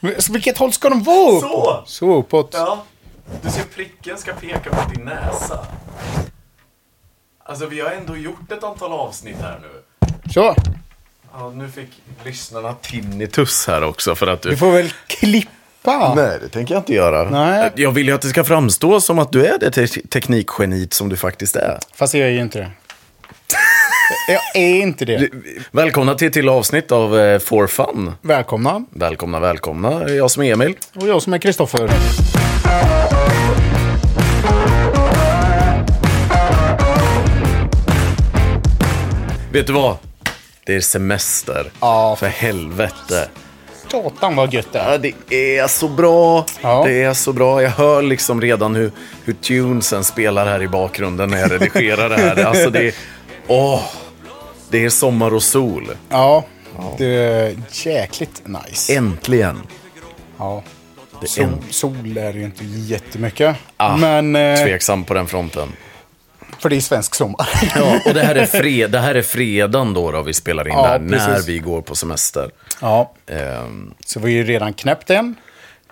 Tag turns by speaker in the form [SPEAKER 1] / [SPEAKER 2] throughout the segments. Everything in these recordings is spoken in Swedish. [SPEAKER 1] Men så Vilket håll ska de vara upp?
[SPEAKER 2] Så!
[SPEAKER 3] Så uppåt.
[SPEAKER 2] Ja. Du ser pricken ska peka mot din näsa. Alltså vi har ändå gjort ett antal avsnitt här nu.
[SPEAKER 3] Så.
[SPEAKER 2] Ja, nu fick lyssnarna tinnitus här också för att
[SPEAKER 1] Du får väl klippa.
[SPEAKER 2] Nej, det tänker jag inte göra.
[SPEAKER 1] Nej.
[SPEAKER 2] Jag vill ju att det ska framstå som att du är det te- teknikgeniet som du faktiskt är.
[SPEAKER 1] Fast jag är ju inte det. Jag är inte det.
[SPEAKER 2] Välkomna till ett till avsnitt av eh, For Fun.
[SPEAKER 1] Välkomna.
[SPEAKER 2] Välkomna, välkomna. Jag som är Emil.
[SPEAKER 1] Och jag som är Kristoffer.
[SPEAKER 2] Vet du vad? Det är semester.
[SPEAKER 1] Ja.
[SPEAKER 2] För helvete.
[SPEAKER 1] Satan vad gött det är.
[SPEAKER 2] Ja, det är så bra.
[SPEAKER 1] Ja.
[SPEAKER 2] Det är så bra. Jag hör liksom redan hur, hur tunesen spelar här i bakgrunden när jag redigerar det här. Alltså det är... Åh! Det är sommar och sol.
[SPEAKER 1] Ja. Det är jäkligt nice.
[SPEAKER 2] Äntligen.
[SPEAKER 1] Ja.
[SPEAKER 2] Det är
[SPEAKER 1] Sol,
[SPEAKER 2] en-
[SPEAKER 1] sol är ju inte jättemycket.
[SPEAKER 2] Ah,
[SPEAKER 1] Men... Eh,
[SPEAKER 2] Tveksam på den fronten.
[SPEAKER 1] för det är svensk sommar.
[SPEAKER 2] Ja, och det här är, fred, det här är fredagen då, då vi spelar in
[SPEAKER 1] Ja,
[SPEAKER 2] det här, när
[SPEAKER 1] precis.
[SPEAKER 2] vi går på semester.
[SPEAKER 1] ja.
[SPEAKER 2] Ehm,
[SPEAKER 1] Så vi är ju redan knäppt en.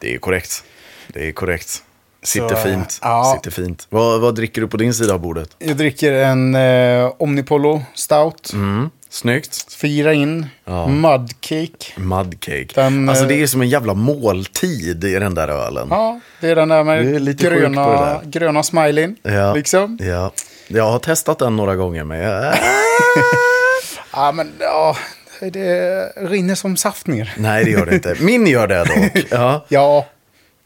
[SPEAKER 2] det är korrekt. Det är korrekt. Sitter
[SPEAKER 1] Så,
[SPEAKER 2] fint.
[SPEAKER 1] ja.
[SPEAKER 2] Sitter fint. Vad, vad dricker du på din sida av bordet?
[SPEAKER 1] Jag dricker en eh, Omnipollo Stout.
[SPEAKER 2] Mm. Snyggt.
[SPEAKER 1] Fira in. Mudcake.
[SPEAKER 2] Mudcake.
[SPEAKER 1] Den,
[SPEAKER 2] alltså
[SPEAKER 1] eh,
[SPEAKER 2] det är som en jävla måltid i den där ölen.
[SPEAKER 1] Ja, det är den där med
[SPEAKER 2] Du är lite sjuk på det
[SPEAKER 1] gröna,
[SPEAKER 2] där.
[SPEAKER 1] gröna smileyn.
[SPEAKER 2] Ja,
[SPEAKER 1] Liksom.
[SPEAKER 2] ja. Jag har testat den några gånger men jag...
[SPEAKER 1] Ja, men ja, det rinner som saft ner.
[SPEAKER 2] Nej det gör det inte. Min gör det dock. Ja.
[SPEAKER 1] Ja,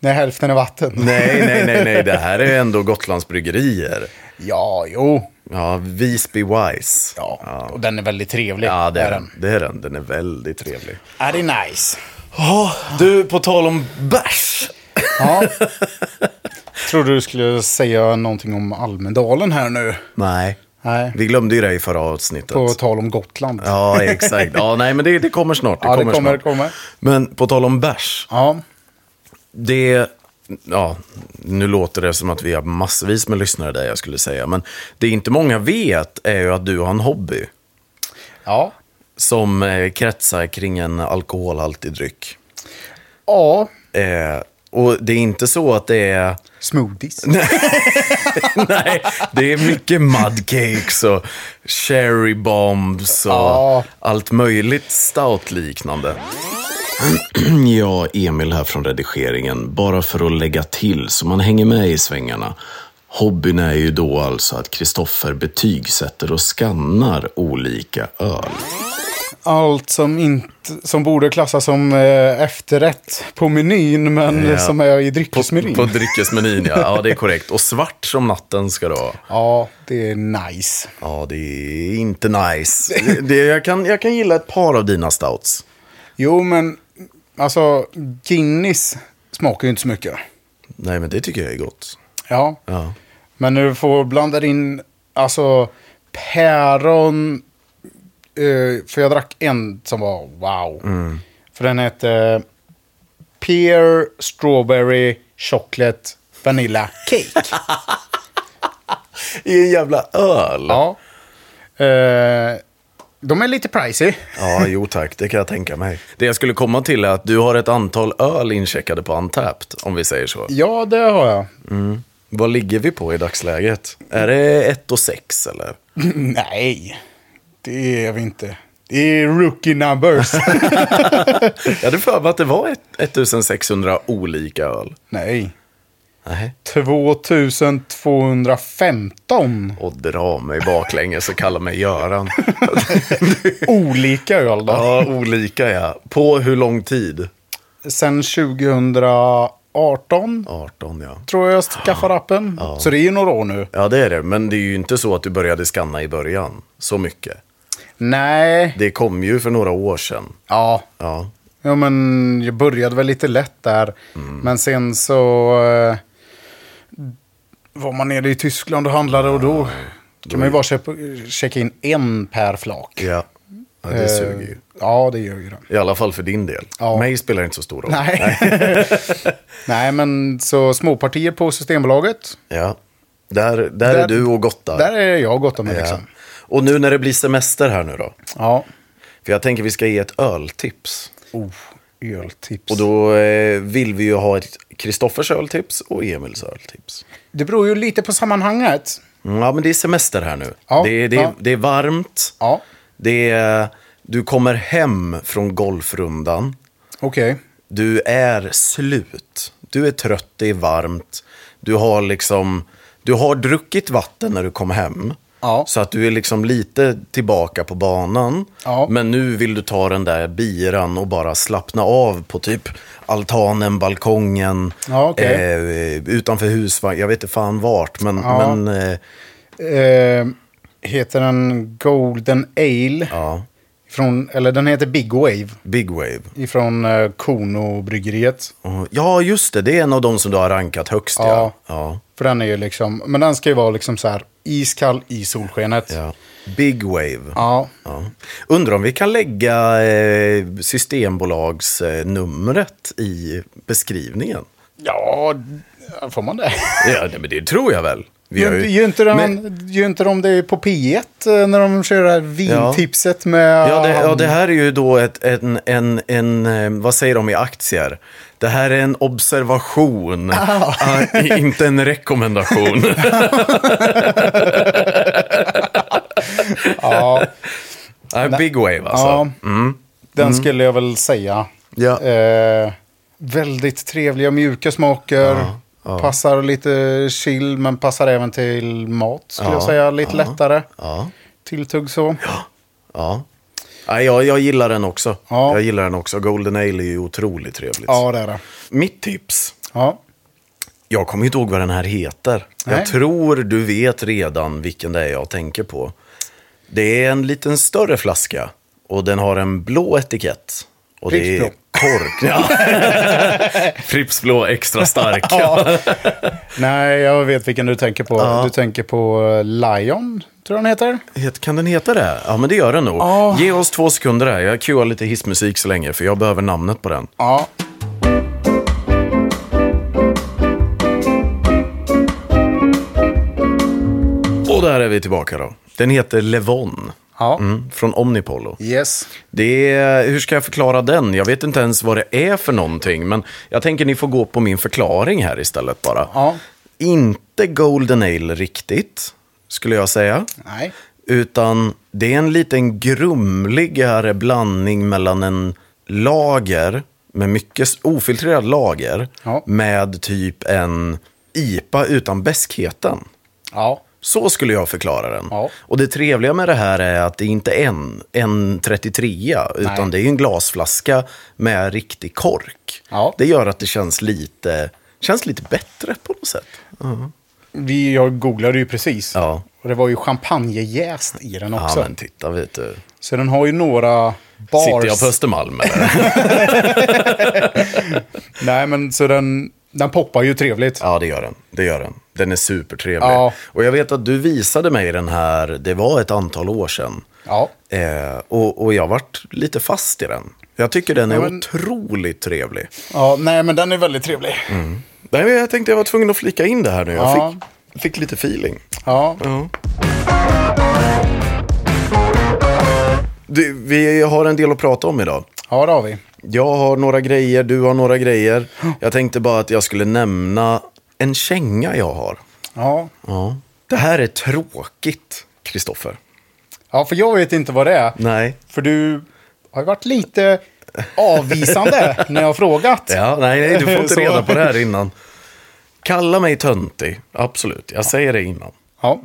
[SPEAKER 1] när hälften är vatten.
[SPEAKER 2] Nej, nej, nej, nej. Det här är ändå Gotlands bryggerier.
[SPEAKER 1] Ja, jo.
[SPEAKER 2] Ja, Visby Wise.
[SPEAKER 1] Ja, och den är väldigt trevlig.
[SPEAKER 2] Ja, det är
[SPEAKER 1] Är
[SPEAKER 2] den. Det är den. Den är väldigt trevlig.
[SPEAKER 1] Ja, det är nice.
[SPEAKER 2] du, på tal om bärs.
[SPEAKER 1] Ja. Trodde du skulle säga någonting om Almedalen här nu.
[SPEAKER 2] Nej.
[SPEAKER 1] Nej,
[SPEAKER 2] Vi glömde ju det i förra avsnittet.
[SPEAKER 1] på tal om Gotland.
[SPEAKER 2] Ja, exakt. Ja, nej, men det, det kommer snart. Det
[SPEAKER 1] Ja, det
[SPEAKER 2] kommer,
[SPEAKER 1] kommer,
[SPEAKER 2] snart.
[SPEAKER 1] det kommer.
[SPEAKER 2] Men på tal om bärs.
[SPEAKER 1] Ja,
[SPEAKER 2] Det... Ja, nu låter det som att vi har massvis med lyssnare där jag skulle säga. Men det inte många vet är ju att du har en hobby
[SPEAKER 1] ja.
[SPEAKER 2] som eh, kretsar kring en alkoholhaltig dryck.
[SPEAKER 1] ja.
[SPEAKER 2] Eh, och det är inte så att det är...
[SPEAKER 1] smoothies.
[SPEAKER 2] Nej, det är mycket mudcakes och cherry bombs och
[SPEAKER 1] Ja.
[SPEAKER 2] allt möjligt stout-liknande. ja, Emil här från redigeringen. Bara för att lägga till så man hänger med i svängarna. Hobbyn är ju då alltså att Kristoffer betygsätter och skannar olika öl.
[SPEAKER 1] Allt som, inte, som borde klassas som eh, efterrätt på menyn, men
[SPEAKER 2] Ja.
[SPEAKER 1] som är i dryckesmenyn.
[SPEAKER 2] På dryckesmenyn, ja. ja. Det är korrekt. Och svart som natten ska det vara.
[SPEAKER 1] Ja, det är nice.
[SPEAKER 2] Ja, det är inte nice. Det, jag, kan, jag kan gilla ett par av dina stouts.
[SPEAKER 1] Jo, men alltså Guinness smakar ju inte så mycket.
[SPEAKER 2] Nej, men det tycker jag är gott.
[SPEAKER 1] Ja,
[SPEAKER 2] Ja.
[SPEAKER 1] men när du får blanda in alltså päron. eh, för jag drack en som var wow.
[SPEAKER 2] Mm.
[SPEAKER 1] För den hette eh, Pear Strawberry Chocolate Vanilla Cake.
[SPEAKER 2] I en jävla öl. Ja.
[SPEAKER 1] ja. Eh, de är lite pricey.
[SPEAKER 2] jo tack. Det kan jag tänka mig. Det jag skulle komma till är att du har ett antal öl incheckade på Antapt, om vi säger så.
[SPEAKER 1] Ja, det har jag.
[SPEAKER 2] Vad ligger vi på i dagsläget? Är det 1 och 6 eller?
[SPEAKER 1] Nej, det är vi inte. Det är rookie numbers.
[SPEAKER 2] Jag hade för mig att det var ett- 1600 olika öl.
[SPEAKER 1] Nej.
[SPEAKER 2] Nej.
[SPEAKER 1] 2215
[SPEAKER 2] Och dra mig baklänges och kalla mig Göran.
[SPEAKER 1] olika öl då.
[SPEAKER 2] Ja, olika ja. På hur lång tid?
[SPEAKER 1] Sen 2018
[SPEAKER 2] 18 ja.
[SPEAKER 1] tror jag jag skaffade appen. Så det är ju några år nu.
[SPEAKER 2] Ja, det är det. Men det är ju inte så att du började skanna i början. Så mycket.
[SPEAKER 1] Nej,
[SPEAKER 2] Det kom ju för några år sedan.
[SPEAKER 1] ja.
[SPEAKER 2] Ja.
[SPEAKER 1] ja, men jag började väl lite lätt där.
[SPEAKER 2] Mm.
[SPEAKER 1] Men sen så eh, var man nere i Tyskland och handlade och då kan man ju bara köpa, checka in en per flak. Eh,
[SPEAKER 2] Ja. ja det suger ju.
[SPEAKER 1] Ja, det gör ju det.
[SPEAKER 2] I alla fall för din del.
[SPEAKER 1] Ja.
[SPEAKER 2] Mig spelar det inte så stor roll.
[SPEAKER 1] Nej. Nej, men så småpartier på Systembolaget.
[SPEAKER 2] Ja. Där, där, är du och Gotta.
[SPEAKER 1] Där är jag gott om mig
[SPEAKER 2] ja.
[SPEAKER 1] liksom.
[SPEAKER 2] Och nu när det blir semester här nu då.
[SPEAKER 1] Ja.
[SPEAKER 2] För jag tänker vi ska ge ett öltips.
[SPEAKER 1] Oh. öltips.
[SPEAKER 2] Och då eh, vill vi ju ha ett Kristoffers öltips och Emils öltips.
[SPEAKER 1] Det beror ju lite på sammanhanget.
[SPEAKER 2] Mm, Ja, men det är semester här nu.
[SPEAKER 1] Ja,
[SPEAKER 2] det, är- det, är-
[SPEAKER 1] ja.
[SPEAKER 2] det är varmt.
[SPEAKER 1] Ja,
[SPEAKER 2] Det är, du kommer hem från golfrundan.
[SPEAKER 1] okej.
[SPEAKER 2] Du är slut. Du är trött, det är varmt. Du har liksom... Du har druckit vatten när du kom hem.
[SPEAKER 1] Ja.
[SPEAKER 2] Så att du är liksom lite tillbaka på banan.
[SPEAKER 1] Ja.
[SPEAKER 2] Men nu vill du ta den där biran och bara slappna av på typ altanen, balkongen,
[SPEAKER 1] Ja, okej.
[SPEAKER 2] eh, utanför husvagn. Jag vet inte fan vart, men...
[SPEAKER 1] Ja.
[SPEAKER 2] men eh,
[SPEAKER 1] Eh, heter den Golden Ale?
[SPEAKER 2] ja.
[SPEAKER 1] Från, eller den heter Big Wave.
[SPEAKER 2] Big wave.
[SPEAKER 1] Ifrån eh, Kono-bryggeriet.
[SPEAKER 2] Och- Ja, just det. Det är en av de som du har rankat högst.
[SPEAKER 1] Ja.
[SPEAKER 2] Ja. Ja.
[SPEAKER 1] För den är ju liksom, men den ska ju vara liksom så här iskall i solskenet.
[SPEAKER 2] ja. Big wave.
[SPEAKER 1] Ja.
[SPEAKER 2] Ja. Undrar om vi kan lägga eh, Systembolagsnumret eh, numret i beskrivningen?
[SPEAKER 1] Ja, får man det?
[SPEAKER 2] Ja, nej, men det tror jag väl. Vi har
[SPEAKER 1] Gör ju inte, de,
[SPEAKER 2] Men-
[SPEAKER 1] gör inte de det på P1 eh, när de kör det här vintipset med...
[SPEAKER 2] Ja det, ja, det här är ju då ett, en, en, en, eh, vad säger de i aktier? Det här är en observation, Ah, i- inte en rekommendation.
[SPEAKER 1] Ja,
[SPEAKER 2] Ah, Big wave alltså. Mm.
[SPEAKER 1] ja. Den skulle jag väl säga.
[SPEAKER 2] Ja.
[SPEAKER 1] Eh, väldigt trevliga mjuka smaker. Passar lite chill men passar även till mat skulle
[SPEAKER 2] Ja,
[SPEAKER 1] jag säga. Lite
[SPEAKER 2] ja.
[SPEAKER 1] lättare.
[SPEAKER 2] Ja.
[SPEAKER 1] Tilltugg så.
[SPEAKER 2] Ja. Nej, jag, jag gillar den också.
[SPEAKER 1] Ja.
[SPEAKER 2] Jag gillar den också. Golden Ale är ju otroligt trevligt.
[SPEAKER 1] Ja, det är det.
[SPEAKER 2] Mitt tips
[SPEAKER 1] Ja.
[SPEAKER 2] Jag kommer inte ihåg vad den här heter.
[SPEAKER 1] Nej.
[SPEAKER 2] Jag tror du vet redan vilken det är jag tänker på. Det är en liten större flaska och den har en blå etikett. Och det är
[SPEAKER 1] Pripsblå.
[SPEAKER 2] kork. Ja. Pripps blå extra stark.
[SPEAKER 1] Nej, jag vet vilken du tänker på. Du tänker på eh, Lion, tror jag den heter.
[SPEAKER 2] Het- Kan den heta det? Ja, men det gör den nog.
[SPEAKER 1] Ja.
[SPEAKER 2] Ge oss två sekunder här. Jag cuear lite hissmusik så länge, för jag behöver namnet på den.
[SPEAKER 1] Ja.
[SPEAKER 2] Och där är vi tillbaka då. Den heter Levon.
[SPEAKER 1] ja.
[SPEAKER 2] Mm, från Omnipollo.
[SPEAKER 1] Yes.
[SPEAKER 2] Det är, hur ska jag förklara den? Jag vet inte ens vad det är för någonting, men jag tänker ni får gå på min förklaring här istället bara.
[SPEAKER 1] Ja.
[SPEAKER 2] Inte Golden Ale riktigt, skulle jag säga.
[SPEAKER 1] Nej.
[SPEAKER 2] Utan det är en liten grumligare blandning mellan en lager, med mycket s- ofiltrerad lager,
[SPEAKER 1] Ja.
[SPEAKER 2] med typ en IPA utan beskheten.
[SPEAKER 1] Ja.
[SPEAKER 2] Så skulle jag förklara den.
[SPEAKER 1] Ja.
[SPEAKER 2] Och det trevliga med det här är att det är inte en, en 33 utan
[SPEAKER 1] Nej.
[SPEAKER 2] det är ju en glasflaska med riktig kork.
[SPEAKER 1] Ja.
[SPEAKER 2] Det gör att det känns lite, känns lite bättre på något sätt.
[SPEAKER 1] Vi, jag googlade ju precis.
[SPEAKER 2] Ja.
[SPEAKER 1] Och det var ju champagnejäst i den
[SPEAKER 2] Ja,
[SPEAKER 1] också.
[SPEAKER 2] men titta vet du.
[SPEAKER 1] Så den har ju några bars.
[SPEAKER 2] Sitter jag på Östermalm eller?
[SPEAKER 1] Nej, men så den, den poppar ju trevligt.
[SPEAKER 2] ja, det gör den. Det gör den. Den är supertrevlig.
[SPEAKER 1] Ja.
[SPEAKER 2] Och jag vet att du visade mig den här, det var ett antal år sedan.
[SPEAKER 1] Ja.
[SPEAKER 2] Eh, och, och jag vart lite fast i den. Jag tycker den är
[SPEAKER 1] Ja, men-
[SPEAKER 2] otroligt trevlig.
[SPEAKER 1] ja. Nej, men den är väldigt trevlig.
[SPEAKER 2] Mm. Nej, men jag tänkte jag var tvungen att flika in det här nu. Jag
[SPEAKER 1] Ja.
[SPEAKER 2] fick, fick lite feeling.
[SPEAKER 1] Ja.
[SPEAKER 2] Du, vi har en del att prata om idag.
[SPEAKER 1] Ja, det har vi.
[SPEAKER 2] Jag har några grejer, du har några grejer. Jag tänkte bara att jag skulle nämna en känga jag har.
[SPEAKER 1] Ja.
[SPEAKER 2] Ja. Det här är tråkigt, Kristoffer.
[SPEAKER 1] Ja, för jag vet inte vad det är.
[SPEAKER 2] Nej.
[SPEAKER 1] För du har ju varit lite avvisande när jag har frågat.
[SPEAKER 2] Ja, nej, nej, du får inte
[SPEAKER 1] Så.
[SPEAKER 2] reda på det här innan. Kalla mig töntig, absolut. Jag säger det innan.
[SPEAKER 1] Ja.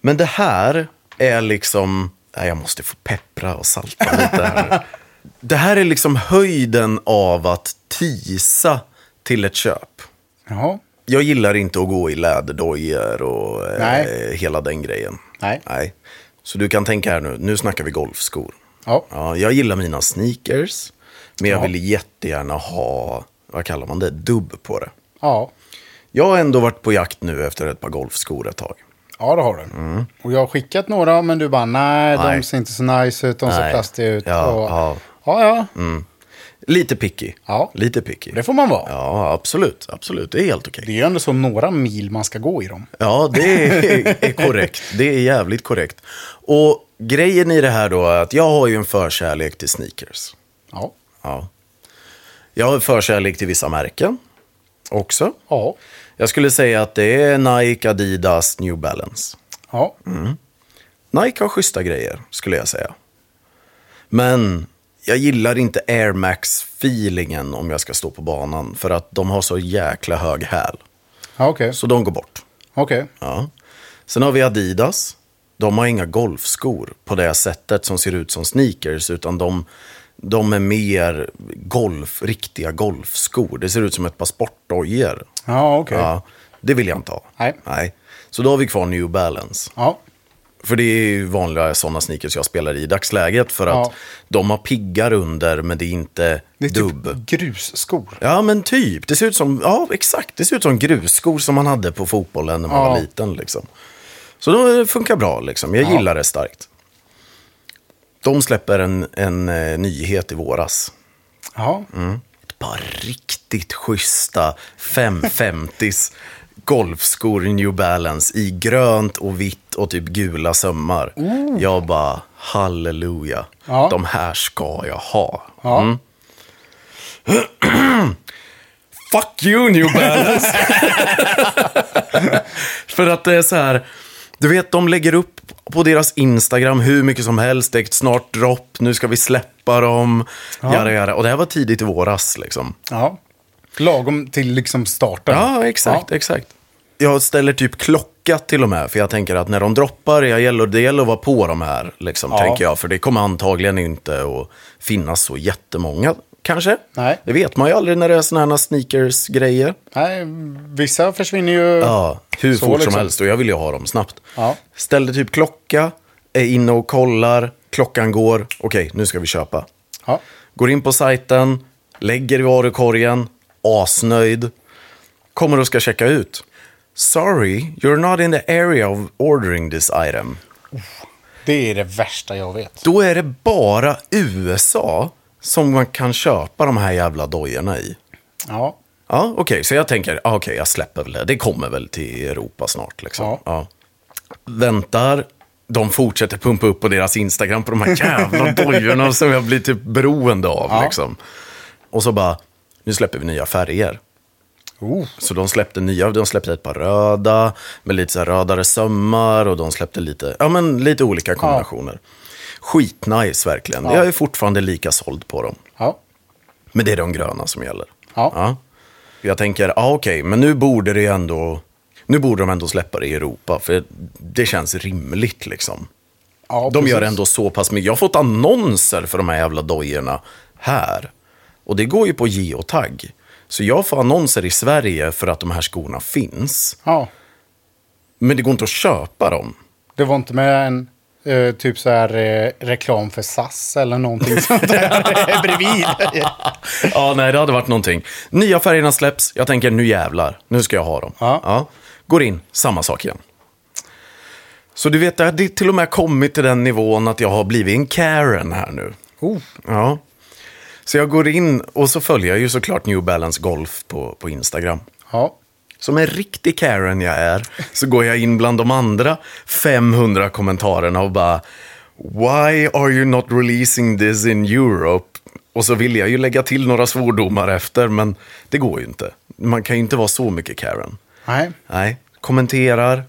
[SPEAKER 2] Men det här är liksom... Nej, jag måste få peppra och salta lite här nu. Det här är liksom höjden av att tisa till ett köp.
[SPEAKER 1] Jaha.
[SPEAKER 2] Jag gillar inte att gå i läderdojor och eh,
[SPEAKER 1] Nej.
[SPEAKER 2] hela den grejen.
[SPEAKER 1] Nej.
[SPEAKER 2] Nej. Så du kan tänka här nu, nu snackar vi golfskor.
[SPEAKER 1] Ja.
[SPEAKER 2] Ja, jag gillar mina sneakers, men jag
[SPEAKER 1] Ja.
[SPEAKER 2] vill jättegärna ha, vad kallar man det, dubb på det.
[SPEAKER 1] Ja.
[SPEAKER 2] Jag har ändå varit på jakt nu efter ett par golfskor ett tag.
[SPEAKER 1] Ja, det har du. Och jag har skickat några, men du bara nej,
[SPEAKER 2] Mm. Nej.
[SPEAKER 1] de ser inte så nice ut, de ser
[SPEAKER 2] Nej.
[SPEAKER 1] plastiga ut.
[SPEAKER 2] Ja,
[SPEAKER 1] och...
[SPEAKER 2] ja. Mm.
[SPEAKER 1] ja. ja.
[SPEAKER 2] Lite picky.
[SPEAKER 1] Ja.
[SPEAKER 2] Lite picky.
[SPEAKER 1] Det får man vara.
[SPEAKER 2] Ja, absolut. Absolut, det är helt okej.
[SPEAKER 1] Det är ju ändå så några mil man ska gå i dem.
[SPEAKER 2] Ja, det är, är korrekt. Det är jävligt korrekt. Och grejen i det här då är att jag har ju en förkärlek till sneakers.
[SPEAKER 1] Ja.
[SPEAKER 2] Ja. Jag har en förkärlek till vissa märken också.
[SPEAKER 1] Ja.
[SPEAKER 2] Jag skulle säga att det är Nike, Adidas, New Balance.
[SPEAKER 1] Ja.
[SPEAKER 2] Mm. Nike har schyssta grejer, skulle jag säga. Men jag gillar inte Air Max-feelingen om jag ska stå på banan. För att de har så jäkla hög häl.
[SPEAKER 1] Ja, okej.
[SPEAKER 2] Så de går bort.
[SPEAKER 1] Okej.
[SPEAKER 2] Ja. Sen har vi Adidas. De har inga golfskor på det sättet som ser ut som sneakers. Utan de, de är mer golf, riktiga golfskor. Det ser ut som ett par sportdojor.
[SPEAKER 1] Ja, okej.
[SPEAKER 2] Ja, det vill jag inte ha.
[SPEAKER 1] Nej.
[SPEAKER 2] Så då har vi kvar New Balance.
[SPEAKER 1] Ja.
[SPEAKER 2] För det är ju vanliga sådana sneakers jag spelar i dagsläget. För att
[SPEAKER 1] Ja.
[SPEAKER 2] de har piggar under men det är inte
[SPEAKER 1] Det är typ
[SPEAKER 2] dubb.
[SPEAKER 1] grusskor.
[SPEAKER 2] Ja men typ, det ser ut som, ja exakt, det ser ut som grusskor som man hade på fotbollen när man
[SPEAKER 1] Ja.
[SPEAKER 2] var liten. Liksom. Så de funkar bra, liksom. jag gillar det starkt. De släpper en, en eh, nyhet i våras.
[SPEAKER 1] Ja.
[SPEAKER 2] Mm. Ett par riktigt schyssta 550s golfskor i New Balance i grönt och vitt och typ gula sömmar. Jag bara, halleluja,
[SPEAKER 1] Ja.
[SPEAKER 2] de här ska jag ha.
[SPEAKER 1] Ja.
[SPEAKER 2] Mm. Fuck you New Balance! För att det är så här, du vet de lägger upp på deras Instagram hur mycket som helst, det är ett snart dropp, nu ska vi släppa dem, jada jada. Och det här var tidigt i våras liksom.
[SPEAKER 1] ja. Lagom till liksom starten.
[SPEAKER 2] Ja, exakt, exakt. Jag ställer typ klocka till och med, för jag tänker att när de droppar, jag gäller, det gäller att vara på de här, liksom,
[SPEAKER 1] Ja.
[SPEAKER 2] tänker jag. För det kommer antagligen inte att finnas så jättemånga, kanske.
[SPEAKER 1] Nej.
[SPEAKER 2] Det vet man ju aldrig när det är sådana här sneakers-grejer.
[SPEAKER 1] Nej, vissa försvinner ju.
[SPEAKER 2] Ja, hur
[SPEAKER 1] Så
[SPEAKER 2] fort
[SPEAKER 1] liksom.
[SPEAKER 2] som helst och jag vill ju ha dem snabbt.
[SPEAKER 1] Ja.
[SPEAKER 2] Ställde typ klocka, är inne och kollar, klockan går, okej nu ska vi köpa.
[SPEAKER 1] Ja.
[SPEAKER 2] Går in på sajten, lägger i varukorgen, asnöjd. Kommer och ska checka ut. Sorry, you're not in the area of ordering this item.
[SPEAKER 1] Det är det värsta jag vet.
[SPEAKER 2] Då är det bara USA som man kan köpa de här jävla dojorna i.
[SPEAKER 1] Ja.
[SPEAKER 2] Ja, okej. Så jag tänker, ah, okej, jag släpper väl det. Det kommer väl till Europa snart. Liksom.
[SPEAKER 1] Ja.
[SPEAKER 2] Ja. Väntar. De fortsätter pumpa upp på deras Instagram på de här jävla dojorna som jag blir typ beroende av.
[SPEAKER 1] Ja.
[SPEAKER 2] Liksom. Och så bara, nu släpper vi nya färger.
[SPEAKER 1] Oh.
[SPEAKER 2] Så de släppte nya, de släppte ett par röda med lite så här rödare sömmar och de släppte lite, ja men lite olika kombinationer. Skitnice verkligen. Jag är fortfarande lika såld på dem.
[SPEAKER 1] Ja.
[SPEAKER 2] Men det är de gröna som gäller.
[SPEAKER 1] Ja.
[SPEAKER 2] Jag tänker, ah, okej, men nu borde det ju ändå... Nu borde de ändå släppa det i Europa, för det känns rimligt liksom.
[SPEAKER 1] ja
[SPEAKER 2] De gör
[SPEAKER 1] precis.
[SPEAKER 2] ändå så pass mycket. Jag har fått annonser för de här jävla dojorna här. Och det går ju på geotag. Så jag får annonser i Sverige för att de här skorna finns.
[SPEAKER 1] Ja.
[SPEAKER 2] Men det går inte att köpa dem.
[SPEAKER 1] Det var inte med en eh, typ så här eh, reklam för SAS eller någonting sånt där bredvid.
[SPEAKER 2] ja, nej, det hade varit någonting. Nya färgerna släpps. Jag tänker, nu jävlar. Nu ska jag ha dem.
[SPEAKER 1] Ja.
[SPEAKER 2] Går in, samma sak igen. Så du vet, det har till och med kommit till den nivån att jag har blivit en Karen här nu.
[SPEAKER 1] Oh.
[SPEAKER 2] Ja. Så jag går in och så följer jag ju såklart New Balance Golf på, på Instagram.
[SPEAKER 1] Ja.
[SPEAKER 2] Som en riktig Karen jag är, så går jag in bland de andra 500 kommentarerna och bara Why are you not releasing this in Europe? Och så vill jag ju lägga till några svordomar efter, men det går ju inte. Man kan ju inte vara så mycket Karen.
[SPEAKER 1] Nej.
[SPEAKER 2] Nej, kommenterar,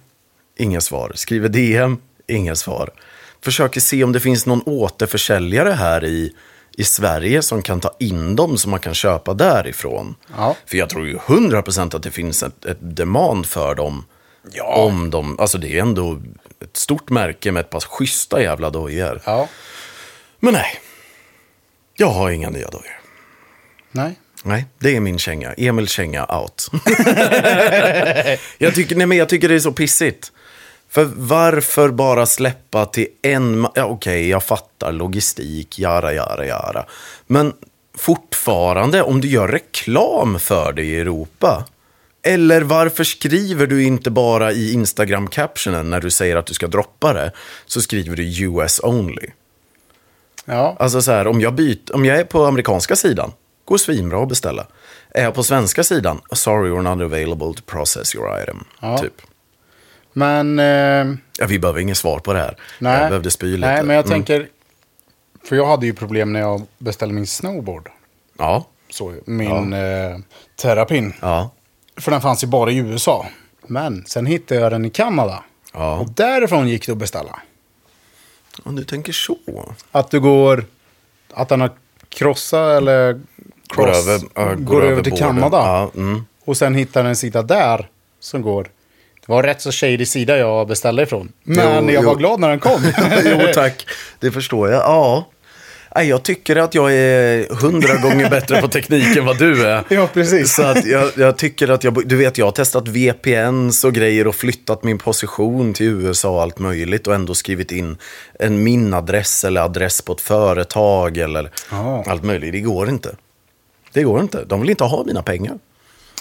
[SPEAKER 2] inga svar. Skriver DM, inga svar. Försöker se om det finns någon återförsäljare här i, i Sverige som kan ta in dem som man kan köpa därifrån.
[SPEAKER 1] Ja.
[SPEAKER 2] För jag tror ju 100% att det finns ett, ett demand för dem. Om de, alltså det är ändå ett stort märke med ett par schyssta jävla dojor.
[SPEAKER 1] Ja.
[SPEAKER 2] Men nej, jag har inga nya dojor.
[SPEAKER 1] Nej.
[SPEAKER 2] Nej, det är min känga. Emil känga out. jag, tycker, nej men jag tycker det är så pissigt. För varför bara släppa till en... ma- Ja, Okej, jag fattar logistik, jara, jara, jara. Men fortfarande, om du gör reklam för det i Europa. Eller varför skriver du inte bara i Instagram-captionen när du säger att du ska droppa det, så skriver du US only.
[SPEAKER 1] Ja.
[SPEAKER 2] Alltså så här, om jag, byt, om jag är på amerikanska sidan, går svinbra att beställa. Är jag på svenska sidan, sorry we're not available to process your item.
[SPEAKER 1] Ja.
[SPEAKER 2] Typ.
[SPEAKER 1] Men... Eh,
[SPEAKER 2] Ja, vi behöver inget svar på det här.
[SPEAKER 1] nej.
[SPEAKER 2] Jag behövde spy lite.
[SPEAKER 1] Nej, men jag
[SPEAKER 2] Mm.
[SPEAKER 1] tänker... För jag hade ju problem när jag beställde min snowboard.
[SPEAKER 2] Ja.
[SPEAKER 1] Så, min eh, terapin.
[SPEAKER 2] Ja.
[SPEAKER 1] För den fanns ju bara i USA. Men sen hittade jag den i Kanada.
[SPEAKER 2] Ja.
[SPEAKER 1] Och därifrån gick det att beställa.
[SPEAKER 2] Om du tänker så.
[SPEAKER 1] Att du går... Att den har krossat eller... Cross,
[SPEAKER 2] Går över- ja, går
[SPEAKER 1] går
[SPEAKER 2] över
[SPEAKER 1] över till
[SPEAKER 2] borden.
[SPEAKER 1] Kanada.
[SPEAKER 2] Ja, mm.
[SPEAKER 1] Och sen hittar den en sida där som går... Det var rätt så shady sida jag beställde ifrån. Men
[SPEAKER 2] Jo,
[SPEAKER 1] jag
[SPEAKER 2] jo.
[SPEAKER 1] var glad när den kom.
[SPEAKER 2] jo tack, det förstår jag. Ja. Nej, Jag tycker att jag är hundra gånger bättre på teknik än vad du är.
[SPEAKER 1] Ja, precis.
[SPEAKER 2] Så att jag, jag tycker att jag, bo- du vet jag har testat VPNs och grejer och flyttat min position till USA och allt möjligt och ändå skrivit in en min adress eller adress på ett företag eller
[SPEAKER 1] Ja.
[SPEAKER 2] allt möjligt. Det går inte. Det går inte. De vill inte ha mina pengar.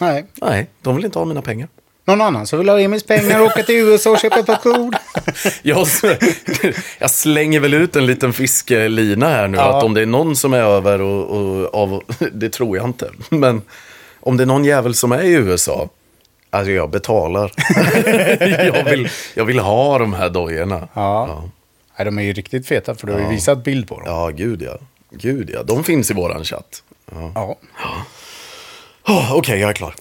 [SPEAKER 1] Nej.
[SPEAKER 2] Nej, de vill inte ha mina pengar.
[SPEAKER 1] Någon annan som vill ha Emils pengar och åka till USA och köpa popcorn.
[SPEAKER 2] Jag, jag slänger väl ut en liten fiskelina här nu.
[SPEAKER 1] Ja.
[SPEAKER 2] Att om det är någon som är över och, och av, det tror jag inte. Men om det är någon jävel som är i USA. Alltså jag betalar. jag, vill, jag vill ha de här dojorna.
[SPEAKER 1] Ja.
[SPEAKER 2] ja.
[SPEAKER 1] Nej, de är ju riktigt feta för du har ju visat bild på dem.
[SPEAKER 2] Ja, gud ja. Gud ja. De finns i våran chatt. Ja.
[SPEAKER 1] Ja.
[SPEAKER 2] Oh, Okej, jag är klar.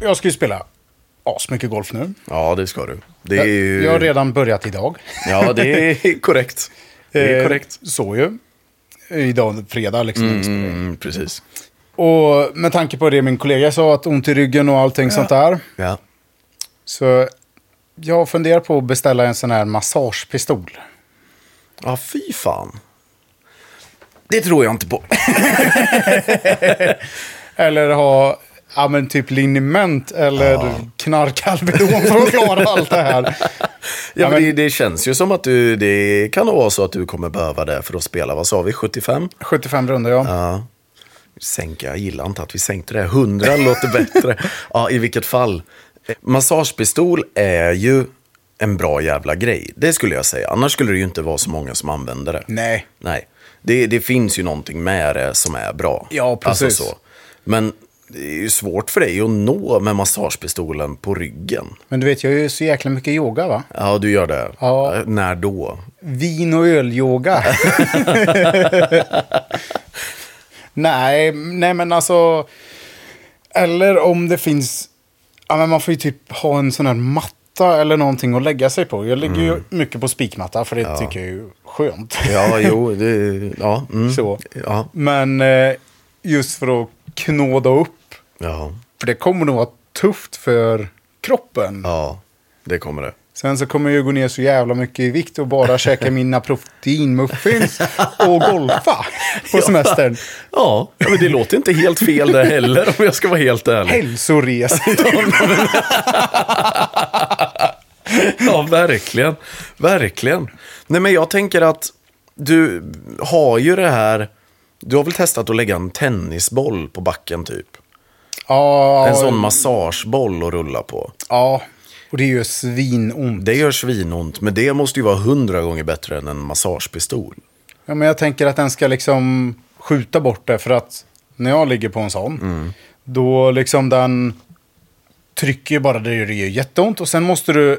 [SPEAKER 1] Jag ska ju spela asmycket golf nu.
[SPEAKER 2] Ja, det ska du. Det är ju...
[SPEAKER 1] Jag har redan börjat idag.
[SPEAKER 2] Ja, det är korrekt. Det är korrekt.
[SPEAKER 1] Eh, så ju. Idag fredag liksom.
[SPEAKER 2] Mm, precis.
[SPEAKER 1] Och med tanke på det min kollega sa, att ont i ryggen och allting sånt där.
[SPEAKER 2] Ja.
[SPEAKER 1] Så jag funderar på att beställa en sån här massagepistol.
[SPEAKER 2] Ja, fy fan. Det tror jag inte på.
[SPEAKER 1] Eller ha ja, men typ liniment eller knarkalvedon för att klara allt det här.
[SPEAKER 2] Ja, men
[SPEAKER 1] men-
[SPEAKER 2] det, det känns ju som att du, det kan nog vara så att du kommer behöva det för att spela, vad sa vi, 75?
[SPEAKER 1] 75 runder ja.
[SPEAKER 2] Ja. Sänka, jag gillar inte att vi sänkte det. 100 låter bättre. Ja, i vilket fall. Massagepistol är ju en bra jävla grej. Det skulle jag säga. Annars skulle det ju inte vara så många som använder det.
[SPEAKER 1] Nej.
[SPEAKER 2] Nej. Det, det finns ju någonting med det som är bra. Alltså
[SPEAKER 1] Ja, precis.
[SPEAKER 2] så. Men det är ju svårt för dig att nå med massagepistolen på ryggen.
[SPEAKER 1] Men du vet, jag gör ju så jäkla mycket yoga va?
[SPEAKER 2] Ja, du gör det.
[SPEAKER 1] Ja.
[SPEAKER 2] Eh, När då?
[SPEAKER 1] Vin och ölyoga. nej, nej, men alltså... Eller om det finns... Ja, men man får ju typ ha en sån här matta eller någonting att lägga sig på. Jag ligger ju mycket på spikmatta för det tycker jag är ju skönt.
[SPEAKER 2] Mm. Ja, jo, det, ja. Mm.
[SPEAKER 1] Så.
[SPEAKER 2] Ja,
[SPEAKER 1] Men eh, just för att knåda upp.
[SPEAKER 2] ja,
[SPEAKER 1] För det kommer nog vara tufft för kroppen.
[SPEAKER 2] ja, det kommer det.
[SPEAKER 1] Sen så kommer jag ju gå ner så jävla mycket i vikt och bara käka mina proteinmuffins och golfa på semestern.
[SPEAKER 2] Ja, ja, men det låter inte helt fel det heller om jag ska vara helt ärlig.
[SPEAKER 1] Hälsoresa.
[SPEAKER 2] Ja, verkligen. Verkligen. Nej, men jag tänker att du har ju det här... Du har väl testat att lägga en tennisboll på backen typ?
[SPEAKER 1] Ja,
[SPEAKER 2] En sån massageboll att rulla på.
[SPEAKER 1] ja, och det är ju svinont.
[SPEAKER 2] Det gör svinont, men det måste ju vara hundra gånger bättre än en massagepistol.
[SPEAKER 1] Ja, men jag tänker att den ska liksom skjuta bort det för att när jag ligger på en sån,
[SPEAKER 2] Mm.
[SPEAKER 1] då liksom den trycker ju bara, det gör ju jätteont och sen måste du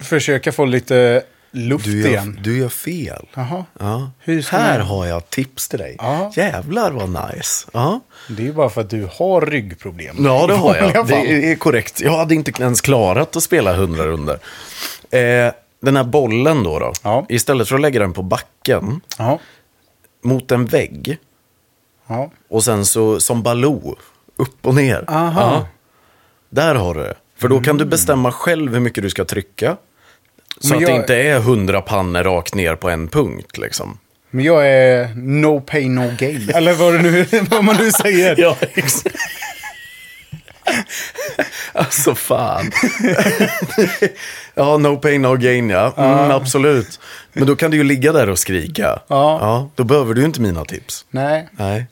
[SPEAKER 1] försöka få lite luft
[SPEAKER 2] Du gör,
[SPEAKER 1] igen.
[SPEAKER 2] du gör fel.
[SPEAKER 1] Jaha.
[SPEAKER 2] Ja.
[SPEAKER 1] Hur ska
[SPEAKER 2] Här
[SPEAKER 1] man-
[SPEAKER 2] har jag tips till dig.
[SPEAKER 1] Ja.
[SPEAKER 2] Jävlar vad nice. Ja,
[SPEAKER 1] Det är ju bara för att du har ryggproblem.
[SPEAKER 2] ja det har
[SPEAKER 1] I alla
[SPEAKER 2] jag.
[SPEAKER 1] fall.
[SPEAKER 2] Det är korrekt. Jag hade inte ens klarat att spela hundra runder. Eh, den här bollen då, då.
[SPEAKER 1] Ja.
[SPEAKER 2] istället för att lägga den på backen
[SPEAKER 1] Ja.
[SPEAKER 2] mot en vägg
[SPEAKER 1] ja.
[SPEAKER 2] och sen så som Baloo, upp och ner.
[SPEAKER 1] Aha.
[SPEAKER 2] Ja. Där har du det. För då kan du bestämma själv hur mycket du ska trycka. Så
[SPEAKER 1] Men
[SPEAKER 2] att det
[SPEAKER 1] jag-
[SPEAKER 2] inte är hundra pannor rakt ner på en punkt liksom.
[SPEAKER 1] Men jag är no pain, no gain. Eller vad, det nu, vad man nu säger.
[SPEAKER 2] Ja, exakt. alltså fan. ja, no pain, no gain ja. Mm, Absolut. Men då kan du ju ligga där och skrika.
[SPEAKER 1] Ja.
[SPEAKER 2] då behöver du ju inte mina tips.
[SPEAKER 1] Nej,
[SPEAKER 2] Nej.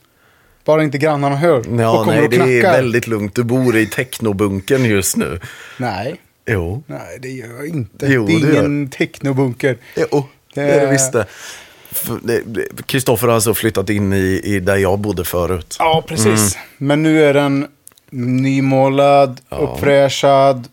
[SPEAKER 1] bara inte grannarna hör.
[SPEAKER 2] Ja,
[SPEAKER 1] och kommer
[SPEAKER 2] nej,
[SPEAKER 1] och
[SPEAKER 2] det är
[SPEAKER 1] knackar.
[SPEAKER 2] väldigt lugnt. Du bor i technobunkern just nu.
[SPEAKER 1] Nej.
[SPEAKER 2] Jo.
[SPEAKER 1] Nej, det gör jag inte.
[SPEAKER 2] Jo,
[SPEAKER 1] det är
[SPEAKER 2] du gör.
[SPEAKER 1] ingen technobunker.
[SPEAKER 2] Jo, det är det visst det. För- det- det- Kristoffer har alltså flyttat in i, i där jag bodde förut.
[SPEAKER 1] Ja, Mm. precis. Men nu är den nymålad, uppfräschad,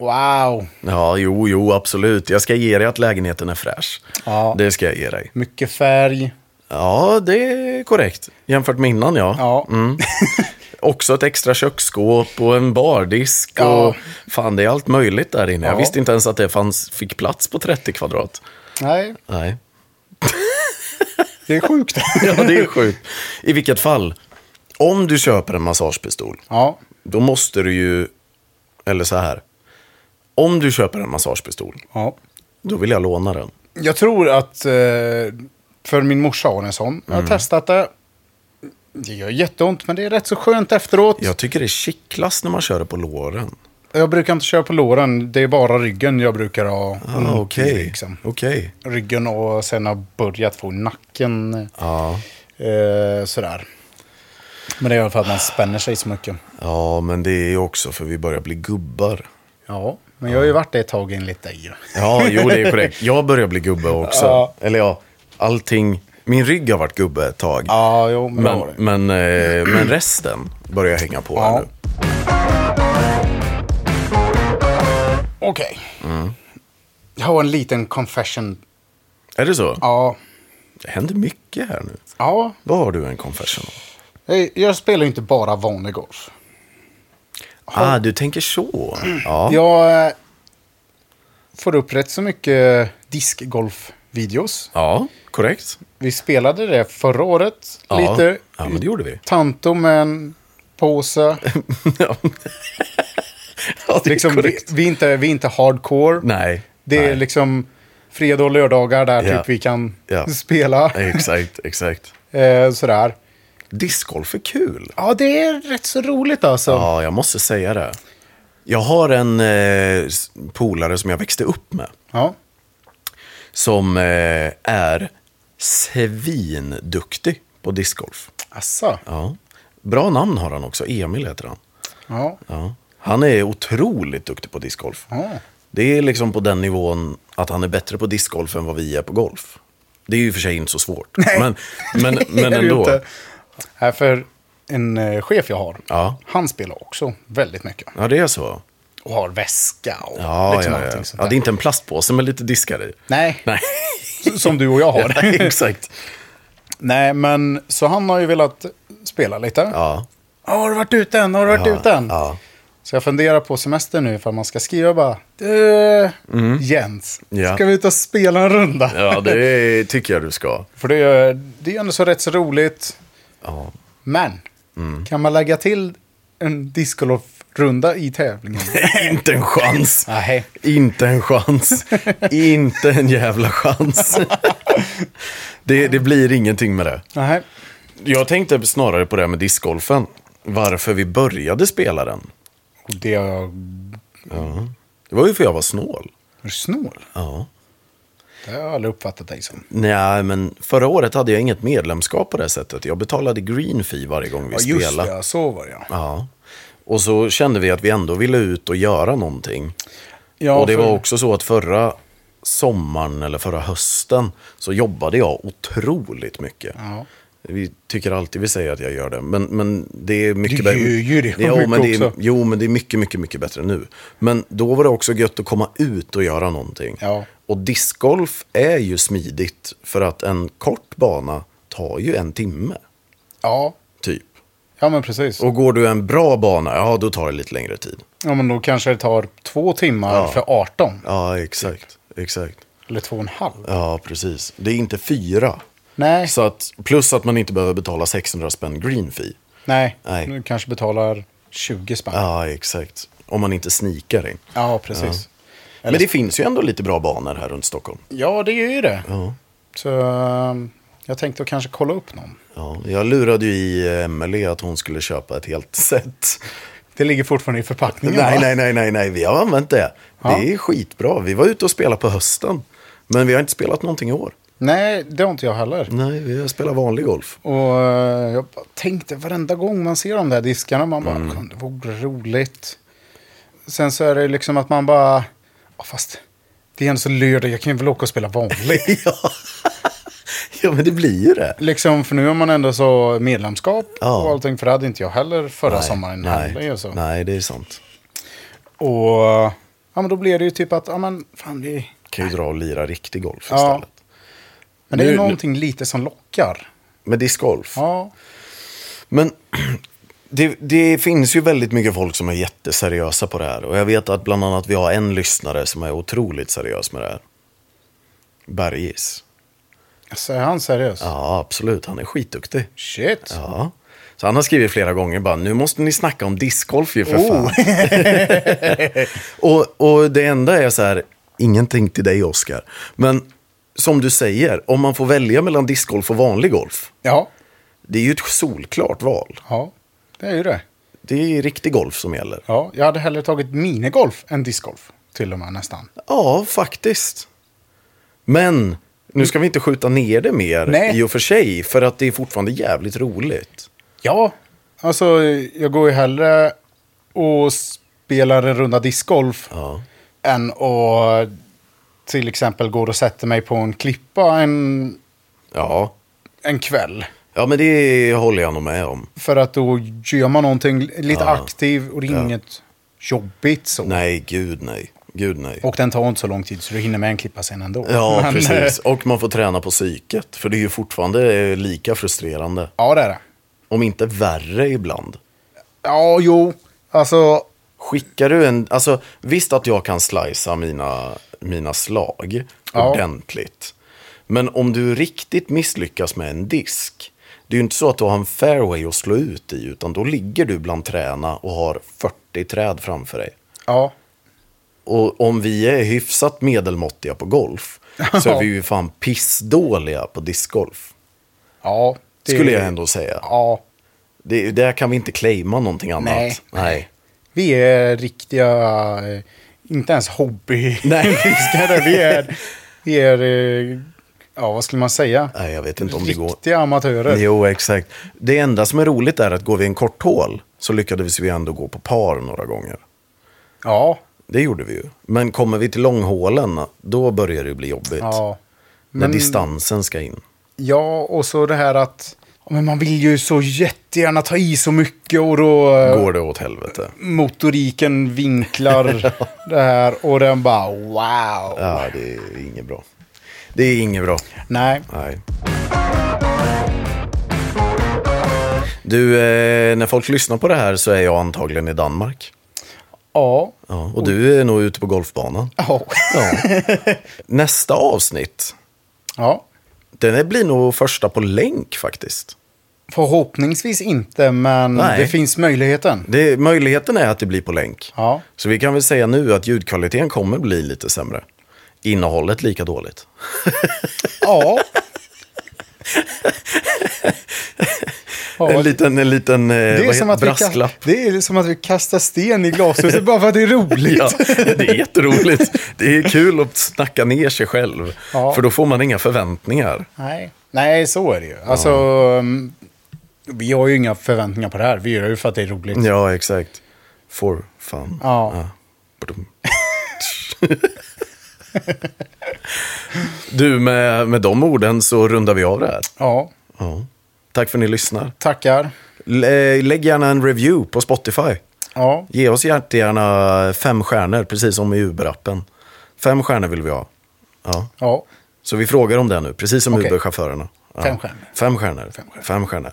[SPEAKER 1] Wow.
[SPEAKER 2] Ja, jo, jo, absolut. Jag ska ge dig att lägenheten är fräsch.
[SPEAKER 1] Ja.
[SPEAKER 2] Det ska jag ge dig.
[SPEAKER 1] Mycket färg.
[SPEAKER 2] Ja, det är korrekt. Jämfört med innan, ja. Mm.
[SPEAKER 1] Ja.
[SPEAKER 2] Också ett extra köksskåp och en bardisk.
[SPEAKER 1] Ja.
[SPEAKER 2] Och fan, det är allt möjligt där inne. Jag
[SPEAKER 1] Ja.
[SPEAKER 2] visste inte ens att det fanns, fick plats på 30 kvadrat.
[SPEAKER 1] Nej,
[SPEAKER 2] Nej.
[SPEAKER 1] det är sjukt.
[SPEAKER 2] Ja, det är sjukt. I vilket fall, om du köper en massagepistol,
[SPEAKER 1] ja.
[SPEAKER 2] då måste du ju... Eller så här. Om du köper en massagepistol,
[SPEAKER 1] ja.
[SPEAKER 2] då vill jag låna den.
[SPEAKER 1] Jag tror att, eh, för min morsa har en sån. Jag har testat det. Det gör jätteont, men det är rätt så skönt efteråt.
[SPEAKER 2] Jag tycker det kittlas när man kör det på låren.
[SPEAKER 1] Jag brukar inte köra på låren, det är bara ryggen jag brukar ha. ont i,
[SPEAKER 2] Ah, Okej.
[SPEAKER 1] liksom.
[SPEAKER 2] Okej.
[SPEAKER 1] Ryggen och sen har börjat få nacken.
[SPEAKER 2] Ja.
[SPEAKER 1] Eh, sådär. Men det är för att man spänner sig så mycket.
[SPEAKER 2] ja, men det är ju också för vi börjar bli gubbar.
[SPEAKER 1] Ja, men jag har ju varit det ett tag enligt dig. ju.
[SPEAKER 2] Ja, jo det är korrekt. Jag börjar bli gubbe också.
[SPEAKER 1] Ja.
[SPEAKER 2] Eller ja, allting. Min rygg har varit gubbe ett tag.
[SPEAKER 1] Ja, jo, men, det
[SPEAKER 2] men,
[SPEAKER 1] var det.
[SPEAKER 2] men, eh, men resten börjar jag hänga på här
[SPEAKER 1] Ja.
[SPEAKER 2] nu.
[SPEAKER 1] Okej. Jag har en liten confession.
[SPEAKER 2] Är det så?
[SPEAKER 1] Ja,
[SPEAKER 2] Det händer mycket här nu.
[SPEAKER 1] ja.
[SPEAKER 2] Vad har du en confession om?
[SPEAKER 1] Jag- Jag spelar ju inte bara vanlig golf.
[SPEAKER 2] Ah, du tänker så. Ja.
[SPEAKER 1] Jag eh, får upp rätt så mycket diskgolf-videos.
[SPEAKER 2] ja, korrekt.
[SPEAKER 1] Vi spelade det förra året
[SPEAKER 2] Ja.
[SPEAKER 1] lite.
[SPEAKER 2] Ja, men det gjorde vi.
[SPEAKER 1] Tanto med en påse.
[SPEAKER 2] ja, det är
[SPEAKER 1] Liksom, vi,
[SPEAKER 2] korrekt.
[SPEAKER 1] vi, är inte, vi är inte hardcore.
[SPEAKER 2] Nej.
[SPEAKER 1] Det är
[SPEAKER 2] nej.
[SPEAKER 1] liksom fredag och lördagar där
[SPEAKER 2] Ja.
[SPEAKER 1] typ vi kan
[SPEAKER 2] Ja.
[SPEAKER 1] spela.
[SPEAKER 2] Exakt, exakt.
[SPEAKER 1] Eh, sådär.
[SPEAKER 2] Discgolf är kul.
[SPEAKER 1] Ja, det är rätt så roligt alltså.
[SPEAKER 2] Ja, jag måste säga det. Jag har en eh, s- polare som jag växte upp med.
[SPEAKER 1] Ja.
[SPEAKER 2] Som eh, är svinduktig på discgolf.
[SPEAKER 1] Asså.
[SPEAKER 2] Ja. Bra namn har han också. Emil heter han.
[SPEAKER 1] Ja.
[SPEAKER 2] Ja. Han är otroligt duktig på discgolf.
[SPEAKER 1] Ja.
[SPEAKER 2] Det är liksom på den nivån att han är bättre på discgolf än vad vi är på golf. Det är ju i och för sig inte så svårt. Men, men, men
[SPEAKER 1] Det är det ju
[SPEAKER 2] ändå.
[SPEAKER 1] inte. Nej, för en eh, chef jag har,
[SPEAKER 2] Ja.
[SPEAKER 1] han spelar också väldigt mycket.
[SPEAKER 2] Ja, det är så.
[SPEAKER 1] Och har väska och
[SPEAKER 2] Ja,
[SPEAKER 1] liksom
[SPEAKER 2] ja, ja.
[SPEAKER 1] allting sånt
[SPEAKER 2] ja,
[SPEAKER 1] där.
[SPEAKER 2] det är inte en plastpåse med lite diskar i.
[SPEAKER 1] Nej,
[SPEAKER 2] Nej,
[SPEAKER 1] som du och jag har.
[SPEAKER 2] exakt.
[SPEAKER 1] Nej, men så han har ju velat spela lite.
[SPEAKER 2] Ja.
[SPEAKER 1] "Ja, har du varit ute än? Har du varit
[SPEAKER 2] Ja,
[SPEAKER 1] ute än?
[SPEAKER 2] ja.
[SPEAKER 1] Så jag funderar på semester nu ifall man ska skriva bara. Du, Jens,
[SPEAKER 2] Mm. Ja.
[SPEAKER 1] ska vi ut och spela en runda?
[SPEAKER 2] ja, det tycker jag du ska.
[SPEAKER 1] För det är det är ändå så rätt så roligt.
[SPEAKER 2] Ja.
[SPEAKER 1] Men
[SPEAKER 2] Mm.
[SPEAKER 1] kan man lägga till en discgolf-runda i tävlingen?
[SPEAKER 2] inte en chans.
[SPEAKER 1] Nej.
[SPEAKER 2] Inte en chans. inte en jävla chans. det, det blir ingenting med det.
[SPEAKER 1] Nej.
[SPEAKER 2] Jag tänkte snarare på det här med discgolfen. Varför vi började spela den.
[SPEAKER 1] Och det har jag...
[SPEAKER 2] Det var ju för jag var snål.
[SPEAKER 1] Är du snål?
[SPEAKER 2] Ja.
[SPEAKER 1] Det har jag aldrig uppfattat dig som.
[SPEAKER 2] Nej, men förra året hade jag inget medlemskap på det sättet. Jag betalade green fee varje gång vi
[SPEAKER 1] Ja, just
[SPEAKER 2] spelade.
[SPEAKER 1] det. ja, Så var det ja.
[SPEAKER 2] Ja. Och så kände vi att vi ändå ville ut och göra någonting.
[SPEAKER 1] ja
[SPEAKER 2] och det
[SPEAKER 1] för-
[SPEAKER 2] var också så att förra sommaren eller förra hösten så jobbade jag otroligt mycket.
[SPEAKER 1] Ja.
[SPEAKER 2] Vi tycker alltid vi säger att jag gör det, men, men det är mycket
[SPEAKER 1] Du gör ju det
[SPEAKER 2] jo,
[SPEAKER 1] mycket
[SPEAKER 2] men det är,
[SPEAKER 1] också.
[SPEAKER 2] jo, men det är mycket, mycket, mycket bättre nu. Men då var det också gött att komma ut och göra någonting.
[SPEAKER 1] Ja.
[SPEAKER 2] Och discgolf är ju smidigt för att en kort bana tar ju en timme,
[SPEAKER 1] Ja.
[SPEAKER 2] typ.
[SPEAKER 1] ja, men precis.
[SPEAKER 2] Och går du en bra bana, ja då tar det lite längre tid.
[SPEAKER 1] Ja, men då kanske det tar två timmar
[SPEAKER 2] Ja.
[SPEAKER 1] för 18.
[SPEAKER 2] Ja, exakt.
[SPEAKER 1] Typ.
[SPEAKER 2] Exakt.
[SPEAKER 1] Eller två och en halv.
[SPEAKER 2] Ja, precis. Det är inte fyra.
[SPEAKER 1] Nej.
[SPEAKER 2] Så att, plus att man inte behöver betala 600 spänn green fee.
[SPEAKER 1] Nej.
[SPEAKER 2] Nej.
[SPEAKER 1] Du kanske betalar 20 spänn. Ja,
[SPEAKER 2] Ja, exakt. Om man inte sneakar in.
[SPEAKER 1] precis.
[SPEAKER 2] Men det finns ju ändå lite bra banor här runt Stockholm.
[SPEAKER 1] Ja. det gör ju det. Så um, jag tänkte att kanske kolla upp någon.
[SPEAKER 2] Ja, jag lurade ju i eh, Emelie E att hon skulle köpa ett helt set.
[SPEAKER 1] Det ligger fortfarande i förpackningen.
[SPEAKER 2] Nej,
[SPEAKER 1] va?
[SPEAKER 2] nej, nej, nej, nej. vi har använt det. Det är skitbra. Vi var ute och spelade på hösten. Men vi har inte spelat någonting i år.
[SPEAKER 1] nej, det har inte jag heller.
[SPEAKER 2] Nej, vi har spelat vanlig golf.
[SPEAKER 1] Och eh, jag bara tänkte varenda gång man ser de där diskarna, man bara,
[SPEAKER 2] Mm.
[SPEAKER 1] "Fan, det vore roligt. Sen så är det liksom att man bara, "Ja, fast det är ändå så lördag, jag kan ju väl åka och spela vanlig.
[SPEAKER 2] ja. ja, men det blir ju det.
[SPEAKER 1] liksom, för nu har man ändå så medlemskap
[SPEAKER 2] Ja.
[SPEAKER 1] och allting, för det hade inte jag heller förra sommaren. heller,
[SPEAKER 2] nej,
[SPEAKER 1] så.
[SPEAKER 2] nej, det är sant.
[SPEAKER 1] Och, ja Ja, men då blir det ju typ att, ja men fan det...
[SPEAKER 2] Kan ju dra och lira riktig golf
[SPEAKER 1] Ja.
[SPEAKER 2] istället.
[SPEAKER 1] Men det är
[SPEAKER 2] Nu-
[SPEAKER 1] ju någonting lite som lockar.
[SPEAKER 2] Med discgolf.
[SPEAKER 1] Ja.
[SPEAKER 2] Men det, det finns ju väldigt mycket folk som är jätteseriösa på det här. Och jag vet att bland annat vi har en lyssnare som är otroligt seriös med det här. Bergis.
[SPEAKER 1] Alltså, är han seriös?
[SPEAKER 2] Ja, absolut. Han är skitduktig.
[SPEAKER 1] Shit.
[SPEAKER 2] Ja. Så han har skrivit flera gånger bara, nu måste ni snacka om discgolf ju för
[SPEAKER 1] Oh.
[SPEAKER 2] fan. och, och det enda är så här, ingenting till dig Oscar. Men som du säger, om man får välja mellan discgolf och vanlig golf.
[SPEAKER 1] Ja.
[SPEAKER 2] Det är ju ett solklart val.
[SPEAKER 1] Ja, det är ju det.
[SPEAKER 2] Det är ju riktig golf som gäller.
[SPEAKER 1] Ja, jag hade hellre tagit minigolf än discgolf. Till och med nästan.
[SPEAKER 2] Ja, faktiskt. Men nu ska vi inte skjuta ner det mer
[SPEAKER 1] Nej.
[SPEAKER 2] i och för sig. För att det är fortfarande jävligt roligt.
[SPEAKER 1] Ja, alltså jag går ju hellre och spelar en runda discgolf
[SPEAKER 2] Ja.
[SPEAKER 1] än att till exempel går och sätter mig på en klippa en,
[SPEAKER 2] Ja,
[SPEAKER 1] en kväll.
[SPEAKER 2] ja men det håller jag nog med om.
[SPEAKER 1] För att då gör man någonting lite aktiv och det är
[SPEAKER 2] Ja.
[SPEAKER 1] inget jobbigt så.
[SPEAKER 2] Nej, gud nej. Gud nej.
[SPEAKER 1] Och den tar inte så lång tid så du hinner med en klippa sen ändå.
[SPEAKER 2] ja,
[SPEAKER 1] Men,
[SPEAKER 2] precis.
[SPEAKER 1] eh,
[SPEAKER 2] Och man får träna på psyket. För det är ju fortfarande eh, lika frustrerande.
[SPEAKER 1] Ja, det är det.
[SPEAKER 2] Om inte värre ibland.
[SPEAKER 1] Ja, jo. Alltså,
[SPEAKER 2] Skickar du en... Alltså, visst att jag kan slicea mina, mina slag
[SPEAKER 1] Ja.
[SPEAKER 2] ordentligt. Men om du riktigt misslyckas med en disk. Det är ju inte så att du har en fairway att slå ut i. Utan då ligger du bland träna och har 40 träd framför dig.
[SPEAKER 1] ja.
[SPEAKER 2] Och om vi är hyfsat medelmåttiga på golf. Så är vi ju fan pissdåliga på discgolf.
[SPEAKER 1] Ja. det-
[SPEAKER 2] Skulle jag ändå säga.
[SPEAKER 1] Ja.
[SPEAKER 2] Det, där kan vi inte claima någonting annat.
[SPEAKER 1] Nej.
[SPEAKER 2] Nej.
[SPEAKER 1] Vi är riktiga, eh, inte ens hobby.
[SPEAKER 2] Nej.
[SPEAKER 1] fiskare. vi är, vi är eh, ja vad skulle man säga?
[SPEAKER 2] Nej, jag vet inte om det går.
[SPEAKER 1] Riktiga amatörer.
[SPEAKER 2] Jo, exakt. Det enda som är roligt är att går vi en kort hål så lyckades vi ändå gå på par några gånger.
[SPEAKER 1] Ja,
[SPEAKER 2] Det gjorde vi ju. Men kommer vi till långhålen, då börjar det bli jobbigt.
[SPEAKER 1] ja.
[SPEAKER 2] När distansen ska in.
[SPEAKER 1] ja, och så det här att ja, men man vill ju så jättegärna ta i så mycket och då eh,
[SPEAKER 2] Går det åt helvete.
[SPEAKER 1] motoriken vinklar det här och den bara wow.
[SPEAKER 2] Ja, det är inget bra. Det är inget bra.
[SPEAKER 1] Nej,
[SPEAKER 2] Nej. Du, eh, när folk lyssnar på det här så är jag antagligen i Danmark.
[SPEAKER 1] ja.
[SPEAKER 2] Ja, och du är nog ute på golfbanan.
[SPEAKER 1] Ja.
[SPEAKER 2] Ja. Nästa avsnitt,
[SPEAKER 1] ja.
[SPEAKER 2] den här blir nog första på länk faktiskt.
[SPEAKER 1] Förhoppningsvis inte, men
[SPEAKER 2] Nej.
[SPEAKER 1] det finns möjligheten.
[SPEAKER 2] Det, möjligheten är att det blir på länk.
[SPEAKER 1] Ja.
[SPEAKER 2] Så vi kan väl säga nu att ljudkvaliteten kommer bli lite sämre. Innehållet lika dåligt.
[SPEAKER 1] Ja. ja
[SPEAKER 2] En liten, en liten eh,
[SPEAKER 1] det, är
[SPEAKER 2] vad
[SPEAKER 1] som
[SPEAKER 2] heter-
[SPEAKER 1] att vi
[SPEAKER 2] brasklapp.
[SPEAKER 1] ka- det är som att vi kastar sten i glashuset bara för att det är roligt.
[SPEAKER 2] Ja, det är jätteroligt. Det är kul att snacka ner sig själv.
[SPEAKER 1] Ja.
[SPEAKER 2] För då får man inga förväntningar.
[SPEAKER 1] Nej. Nej, så är det ju. Alltså, um, vi har ju inga förväntningar på det här. Vi gör det ju för att det är roligt.
[SPEAKER 2] Ja, exakt. For fun.
[SPEAKER 1] Ja.
[SPEAKER 2] Badum. du, med, med de orden så rundar vi av det här.
[SPEAKER 1] Ja,
[SPEAKER 2] Ja. Tack för att ni lyssnar.
[SPEAKER 1] tackar.
[SPEAKER 2] L- eh, lägg gärna en review på Spotify.
[SPEAKER 1] Ja,
[SPEAKER 2] Ge oss jättegärna fem stjärnor, precis som i Uber-appen. Fem stjärnor vill vi ha. Ja.
[SPEAKER 1] ja.
[SPEAKER 2] Så vi frågar om det nu, precis som
[SPEAKER 1] Okej.
[SPEAKER 2] Uber-chaufförerna. Ja.
[SPEAKER 1] Fem stjärnor.
[SPEAKER 2] Fem stjärnor. Fem stjärnor.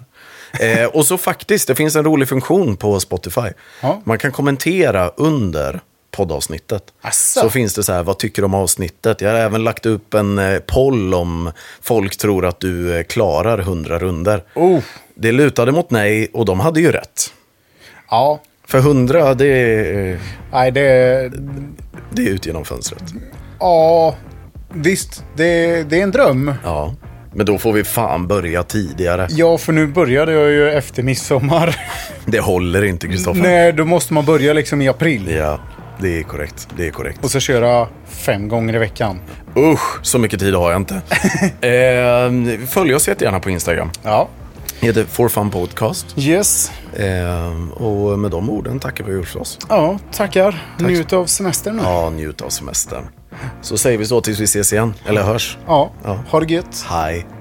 [SPEAKER 2] Eh, och så faktiskt, det finns en rolig funktion på Spotify.
[SPEAKER 1] Ja.
[SPEAKER 2] Man kan kommentera under poddavsnittet.
[SPEAKER 1] Asså.
[SPEAKER 2] Så finns det så här, vad tycker du om avsnittet? Jag har även lagt upp en eh, poll om folk tror att du eh, klarar 100 runder.
[SPEAKER 1] Oh.
[SPEAKER 2] Det lutade mot nej och de hade ju rätt.
[SPEAKER 1] Ja,
[SPEAKER 2] För 100, det är, eh,
[SPEAKER 1] nej det...
[SPEAKER 2] det är ut genom fönstret.
[SPEAKER 1] Ja, visst. Det, det är en dröm.
[SPEAKER 2] Ja. Men då får vi fan börja tidigare.
[SPEAKER 1] Ja, för nu började jag ju efter midsommar.
[SPEAKER 2] Det håller inte, Kristoffer.
[SPEAKER 1] Nej, då måste man börja liksom i april.
[SPEAKER 2] Ja, det är korrekt. Det är korrekt.
[SPEAKER 1] Och så köra fem gånger i veckan.
[SPEAKER 2] Usch, så mycket tid har jag inte. eh, följ oss jättegärna på Instagram.
[SPEAKER 1] Ja.
[SPEAKER 2] Heter For Fun Podcast.
[SPEAKER 1] Yes.
[SPEAKER 2] Eh, och med de orden tackar vi för oss.
[SPEAKER 1] Ja, tackar. Njut av semestern nu. Ja.
[SPEAKER 2] Ja, njut av semestern. Så säger vi så tills vi ses igen, eller hörs.
[SPEAKER 1] Ha det gött.
[SPEAKER 2] Hej.